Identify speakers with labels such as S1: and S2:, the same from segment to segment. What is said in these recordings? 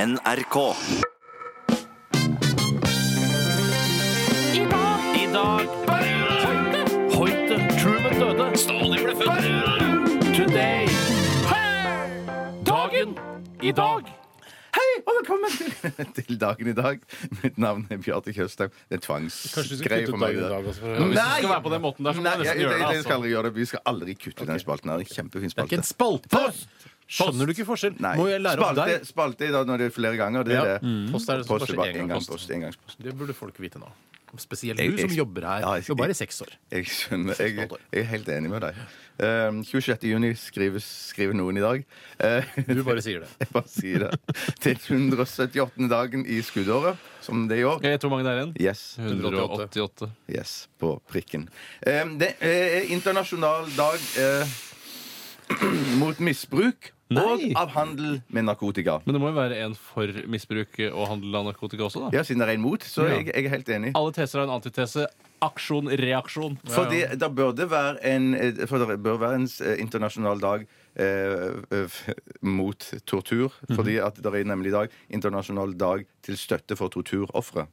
S1: NRK.
S2: I dag Hoite Truman døde Stalin ble født Today Dagen I dag
S3: Hei, og velkommen til, til dagen i dag. Mitt navn er Bjarte Tjøstheim. Det er
S4: Kanskje du
S3: tvangsgreie
S4: skal kutte
S3: for
S4: ut
S3: meg.
S4: dagen i
S3: det der.
S4: dag også? For, hvis
S3: Nei!
S4: det skal være på den måten der, så må
S3: Nei,
S4: jeg
S3: jeg,
S4: nesten
S3: jeg,
S4: gjøre det.
S3: jeg
S4: Altså.
S3: skal aldri gjøre det. Vi skal aldri kutte den spalten her. Det er en Kjempefin
S4: Det er ikke
S3: spalte.
S4: en spalte! Skjønner du ikke forskjell?
S3: Nei.
S4: Må jeg lære opp
S3: spalte,
S4: deg?
S3: spalte da, når det er flere ganger. Det
S4: Ja.
S3: er det.
S4: Mm. Post er det som
S3: Post
S4: bare
S3: bare
S4: en gang
S3: engangs-
S4: post.
S3: post, engangspost.
S4: Det burde folk vite nå. Spesielt
S3: Jeg-
S4: du som
S3: jeg-
S4: jobber her.
S3: Ja, jeg-
S4: jobber her i seks år.
S3: Jeg skjønner. Jeg, jeg er helt enig med deg. Um, 26. juni skriver, skriver noen i dag. Eh,
S4: Du bare sier det.
S3: jeg bare sier det. Til 178. dagen i skuddåret, som det er i år.
S4: Jeg tror mange det er igjen.
S3: Yes.
S4: 188.
S3: Yes, på prikken. Eh, det er internasjonal dag eh, mot misbruk og
S4: Nei.
S3: av handel med narkotika.
S2: Men det må jo være en for misbruk og handel av narkotika også da
S3: Ja, siden det er en mot, så
S2: Ja.
S3: jeg, jeg er helt enig.
S2: Alle teser har en antitese Aksjon, reaksjon
S3: Fordi det bør det være en, eh, for det bør være en s- eh, internasjonal dag eh, f- mot tortur.
S4: Mhm.
S3: Fordi at det er nemlig i dag internasjonal dag til støtte for torturofre.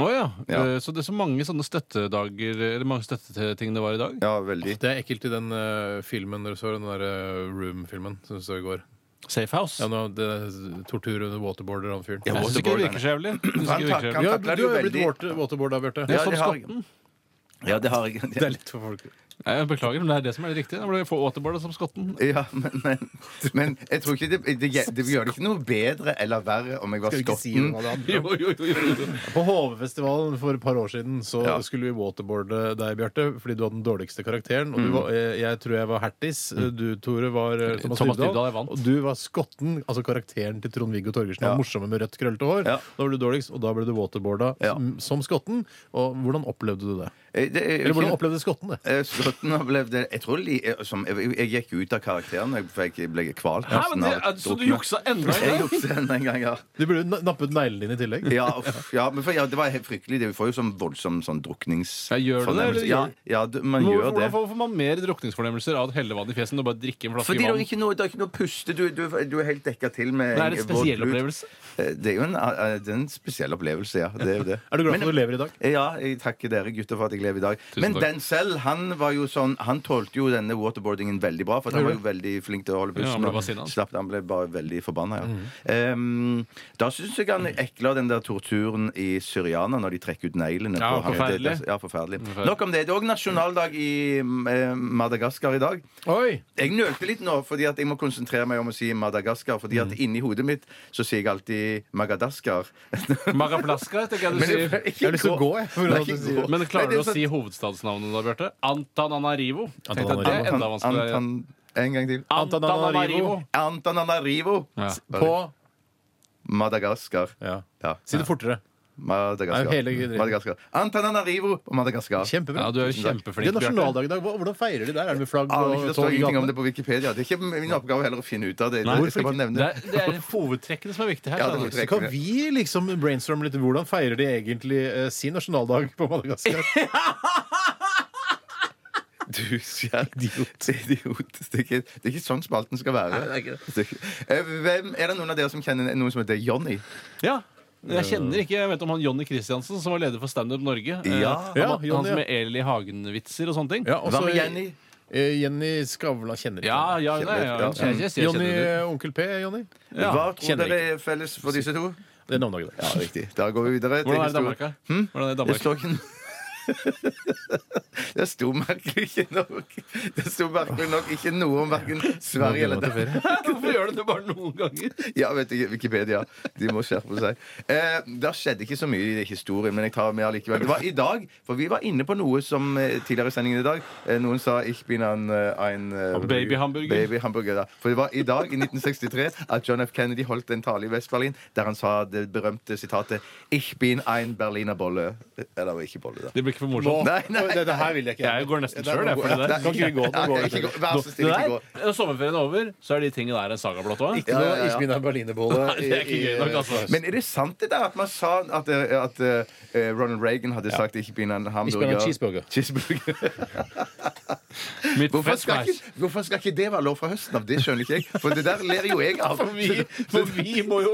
S2: Åja,
S3: Ja.
S2: Eh, så det er så mange sånne støttedager Eller mange støtteting det var i dag
S3: Ja, veldig.
S4: Det er ekkelt i den eh, filmen dere så, den der eh, Room-filmen som dere så i går.
S2: Safe House
S4: Ja, nå, det Tortur under waterboarder og han fyren.
S3: Ja,
S2: Jeg synes ikke det virker så jævlig Jeg synes ikke det virker så jævlig.
S3: Han
S4: Ja, du
S3: takler
S4: har jo
S3: jo
S4: blitt
S3: veldig-
S4: water, waterboarda, Bjarte.
S3: Ja,
S2: Som
S3: det har jeg.
S2: skotten
S3: Ja, det har jeg.
S4: Det er litt for folk.
S2: Nei, Jeg beklager, men det er det som er det riktige Da blir jeg få återbarda som skotten
S3: Ja, men, men, men jeg tror ikke det, det, det gjør det ikke noe bedre eller verre om jeg var skotten.
S4: Skotten. På HV-festivalen for et par år siden så
S3: Ja.
S4: skulle vi waterboarde deg, Bjarte, fordi du hadde den dårligste karakteren. Og du var, eh, jeg tror jeg var Hertis. Du, Tore, var eh, Mm. Thomas,
S2: Thomas Dybdahl,
S4: Dybdahl.
S2: jeg vant.
S4: Og du var skotten, altså karakteren til Trond-Viggo Torgersen.
S3: Ja.
S4: Han morsomme med rødt, krøllete hår.
S3: Ja.
S4: Da var du dårligst, og da ble du waterboarda
S3: Ja.
S4: som, som skotten. Og hvordan opplevde du det?
S3: Eh, det er jo
S4: Eller hvordan
S3: ikke-
S4: opplevde skotten det?
S3: Eh, Skotten opplevde Jeg tror li, eh, som, jeg, jeg gikk ut av karakteren, jeg- for jeg ble kvalt. nesten
S2: eh,
S3: av
S2: altså,
S3: drukne.
S2: enda
S3: Jeg juksa enda en gang, ja.
S4: Du burde na- nappet neglene dine i tillegg.
S3: Ja, uff, ja, men for, ja, det var helt fryktelig. Det- Vi får jo sånn voldsom sånn druknings...
S2: Ja, gjør du det, eller gjør-
S3: Ja, ja, du- man
S2: Hvorfor-
S3: gjør det.
S2: Hvordan får man mer drukningsfornemmelser av et helle vann i fjeset enn å bare drikke en flaske
S3: Fordi det er
S2: vann?
S3: ikke noe, det er ikke noe puste. Du, du, du er helt dekka til med
S2: Men er det en
S3: våt
S2: spesiell
S3: lut.
S2: opplevelse?
S3: Eh, Det er jo en, eh, det er en spesiell opplevelse, ja. Det er, jo det.
S4: Er du glad for
S3: Men-
S4: at du lever i dag?
S3: Ja, jeg takker dere gutter for at jeg lever i dag.
S2: Tusen
S3: Men
S2: takk.
S3: den selv, han var jo sånn Han tålte jo denne waterboardingen veldig bra, for han var jo veldig flink til å holde
S2: Ja, han
S3: pusten.
S2: ble
S3: og
S2: bare sinna, Mhm. han.
S3: slapp- han ble bare veldig forbanna, ja. Ehm, da syns jeg han ekler den der torturen i Syriana når de trekker ut neglene.
S2: Ja,
S3: på han.
S2: forferdelig.
S3: Det- det- Ja, forferdelig. Nok om det. Det er òg nasjonaldag i eh, Madagaskar i dag.
S4: Oi!
S3: Jeg nølte litt nå, fordi at jeg må konsentrere meg om å si Madagaskar. Fordi
S2: Mhm.
S3: at inni hodet mitt så sier jeg alltid Magadaskar.
S2: Magaplaska, tenker jeg du
S3: jeg,
S2: sier.
S3: ikke
S4: Jeg har lyst til å gå, jeg. For
S3: Nei,
S4: at du
S3: ikke
S4: sier.
S3: gå.
S2: Men
S3: Nei,
S2: klarer
S3: det
S2: du
S3: er sånn-
S2: å si hovedstadsnavnet da, Bjarte? Antananarivo. Tenk deg, Det er
S4: Antananarivo.
S2: enda
S3: Antan,
S2: vanskeligere.
S3: Antan, en gang til.
S2: Antananarivo.
S3: Antananarivo.
S2: Ja.
S4: På
S3: Madagaskar.
S4: Ja.
S3: Ja.
S4: Si det fortere.
S3: Madagaskar.
S4: Nei, hele dritten.
S3: Madagaskar. Antananarivo og Madagaskar.
S4: Kjempebra.
S2: ja, du er jo
S3: Tusen takk.
S4: Det
S2: kjempeflink,
S4: er
S2: Bjarte.
S4: nasjonaldag i dag. Hva- Hvordan feirer de der? Er det med flagg
S3: Aner ikke,
S4: og
S3: det
S4: tog
S3: står
S4: i
S3: ingenting om det
S4: gatene?
S3: på Wikipedia. Det er ikke min oppgave heller å finne ut av det.
S2: Nei,
S3: jeg skal bare nevne
S2: Det
S3: det.
S2: er, det er hovedtrekkene som er viktige her.
S3: Ja, det
S2: skjønner
S3: er
S2: du.
S4: Så kan vi liksom brainstorme litt. Hvordan feirer de egentlig eh, sin nasjonaldag på Madagaskar?
S3: Du sier idiot. idiot. Det, er ikke, det er ikke sånn spalten skal være. Det er ikke- Eh, Hvem, er det noen av dere som kjenner noen som heter Johnny?
S2: ja. Jeg kjenner ikke, jeg vet om han Jonny Christiansen, som var leder for Standup Norge. Eh,
S3: Ja.
S2: han,
S4: Ja,
S2: han
S4: Johnny,
S2: som
S4: ja.
S2: er Eli Hagen-vitser og sånne ting.
S4: Ja,
S3: Hva
S4: også
S3: med Jenny?
S4: eh, Jenny Skavlan kjenner ikke
S2: ja, ja, nei, ja.
S3: Ja.
S2: Jeg, jeg, jeg, jeg kjenner
S4: Jonny,
S2: det.
S4: eh, Onkel P, Jonny.
S2: Ja,
S3: Hva tror
S2: kjenner
S3: dere er felles for disse to?
S4: Det er navnedagen i dag.
S3: Ja, riktig. Da går vi videre.
S2: Hvordan er
S3: til
S2: det i
S3: historie-
S2: Danmark? da? Hvordan er det i
S3: Det
S2: Danmark?
S3: står ikke Det sto merkelig ikke nok Det sto merkelig nok ikke noe om hverken Sverige eller Danmark.
S2: Hvorfor gjør du det bare noen ganger?
S3: Ja, vet ikke, Wikipedia. De må skjerpe seg. Eh, det skjedde ikke så mye i historien, men jeg tar med allikevel. Det var i dag, for vi var inne på noe som eh, tidligere i sendingen i dag eh, Noen sa 'ich bin ein, eh, ein eh,
S2: Babyhamburger.
S3: babyhamburger, da. For det var i dag, i 1963, at John F. Kennedy holdt en tale i Vest-Berlin der han sa det berømte sitatet 'Ich bin ein Berliner Bolle'. Eh, Eller ikke bolle, da.
S2: Det ble blir ikke for morsomt.
S3: Nei, nei.
S4: Dette her vil jeg ikke.
S2: Jeg går nesten
S4: Det er
S2: sjøl, jeg.
S4: noe-
S2: for det der.
S4: Kan ikke vi gå? Nå
S3: Nei,
S4: går
S3: ikke
S4: vi.
S3: gå. Vær så snill, ikke gå.
S2: Det der, når Sommerferien er over, så er de tingene der en saga blått òg.
S4: Ikke
S3: Ja, ja,
S4: noe
S3: ja.
S4: Ismina Berlinerbolle.
S2: Nei, det er ikke gøy nok, altså.
S3: Men er det sant det der at man sa at, eh, at eh, Ronald Reagan hadde sagt 'ikke begynn en hamburger'?
S4: Ikke begynn en cheeseburger.
S3: Cheeseburger.
S2: Mitt
S3: Hvorfor, skal
S2: fettsmeis.
S3: ikke, hvorfor skal ikke det være lov fra høsten av? Det skjønner ikke jeg. For det der ler jo jeg av.
S2: For vi, for vi må jo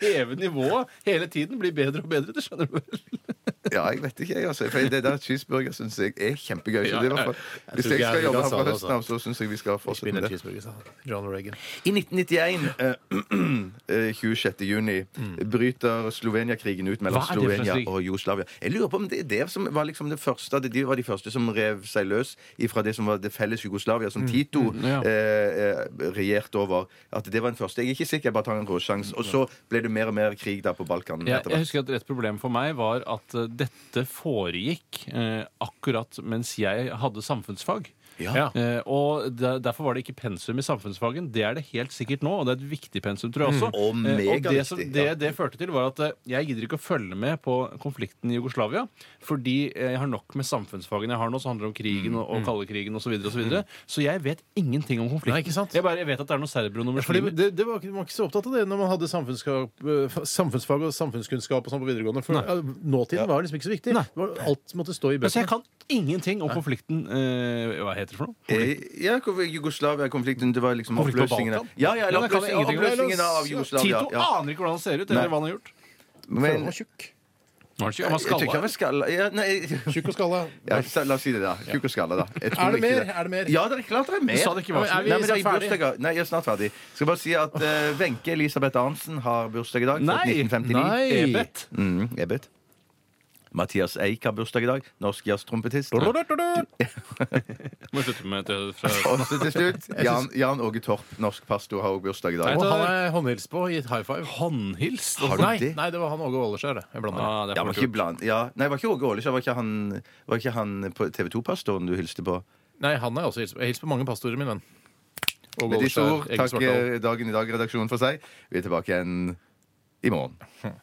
S2: heve nivået hele tiden. Bli bedre og bedre, det skjønner du vel?
S3: Ja, jeg vet ikke, jeg. Altså. For det der cheeseburger syns jeg er kjempegøy. Så det er i hvert fall- Hvis
S4: tror
S3: jeg
S4: ikke jeg
S3: skal jobbe
S4: ville
S3: her
S4: sa
S3: fra
S4: det,
S3: høsten av, så syns jeg vi skal fortsette med det.
S4: cheeseburger, sa John Reagan.
S3: I 1991, eh, eh, 26. juni, bryter Slovenia-krigen ut mellom
S2: Hva er det for en
S3: Slovenia
S2: krig?
S3: og Jugoslavia. Jeg lurer på om det er det som var liksom det første at De var de første som rev seg løs fra det som var det felles Jugoslavia, som Tito
S2: Mm. ja.
S3: eh, eh, regjerte over. At det var den første. Jeg er ikke sikker, jeg bare tar en råsjanse. Og så ble det mer og mer krig da på Balkan.
S2: Jeg,
S3: etter
S2: jeg
S3: hvert.
S2: husker at Et problem for meg var at eh, dette foregikk eh, akkurat mens jeg hadde samfunnsfag.
S4: Ja.
S2: Eh, og der, Derfor var det ikke pensum i samfunnsfagen. Det er det helt sikkert nå, og det er et viktig pensum, tror jeg også.
S3: og
S2: Eh, og det,
S3: megaviktig,
S2: som,
S3: ja.
S2: det det førte til, var at eh, jeg gidder ikke å følge med på konflikten i Jugoslavia, fordi eh, jeg har nok med samfunnsfagene jeg har nå, som handler om krigen og, og kaldekrigen osv., så, videre, og så, videre. så jeg vet ingenting om konflikten.
S4: Nei, ikke sant?
S2: Jeg bare jeg vet at det er noen serbere og noen
S4: Fordi
S2: muslimer.
S4: det, det var, ikke- Man var ikke så opptatt av det når man hadde samfunnsfag, eh, samfunnsfag og samfunnskunnskap og sånn på videregående. For eh, nåtiden var liksom ikke så viktig. Det var, alt måtte stå i
S2: Men
S3: Altså,
S2: så altså, jeg kan
S4: bøkene.
S2: ingenting om konflikten eh, Hva heter det for noe?
S3: Eh, Ja, hvor- Jugoslavia-konflikten. Det var liksom
S2: Konflikt på
S3: oppløsningen av
S2: Balkan?
S3: Ja, ja,
S2: Ja,
S3: eller
S2: det kan jeg
S3: oppløsningen,
S2: ingenting om.
S3: oppløsningen av Jugoslavia.
S2: Tito
S3: Ja.
S2: aner ikke hvordan han ser ut, eller
S3: Nei.
S2: hva han har gjort.
S4: Den
S3: Men
S4: var tjukk.
S2: Nå er han ikke- han var
S3: jeg tror ikke
S2: skalla.
S3: han var skalla ja, Nei,
S4: Tjukk og skalla.
S3: Ja, så la oss si det, da. Kuk og skalle, da. Jeg tror
S4: Er det
S3: ikke
S4: mer? Er det mer?
S3: Ja, det er klart det er mer.
S2: Du sa det ikke var
S3: Nei,
S2: så mye.
S3: men det er i
S4: Vi er snart ferdig.
S3: bursdager. Nei, jeg er snart ferdig. Skal bare si at eh, Wenche Elisabeth Arntzen har bursdag i dag.
S2: Nei!
S3: født 1959.
S4: Nei.
S2: Ebet.
S3: Mm, jeg vet. Mathias Eik har bursdag i dag. Norsk jazztrompetist.
S2: Må slutte med det fra
S3: Og så til slutt Jan, Jan Åge Torp, norsk pastor, har også bursdag i
S4: Og
S3: dag.
S2: Nei,
S4: han er håndhils på i et high five.
S2: håndhils.
S3: Har du
S4: Nei,
S3: det?
S4: nei, det var han Åge Åleskjær, det. Jeg blander.
S2: Ah, det
S3: Ja,
S2: er
S3: var
S2: fort
S3: ikke
S2: gjort.
S3: blant, ja. Nei, var ikke Åge Ålesjø Var ikke han, var ikke han på TV 2-pastoren du hilste på?
S4: Nei, han er også hils, jeg hilser på mange pastorer, min venn. Åge
S3: Med disse
S4: Åleskjær,
S3: ord eh,
S4: Egil Svartdal.
S3: takker Dagen i dag-redaksjonen for seg. Vi er tilbake igjen i morgen.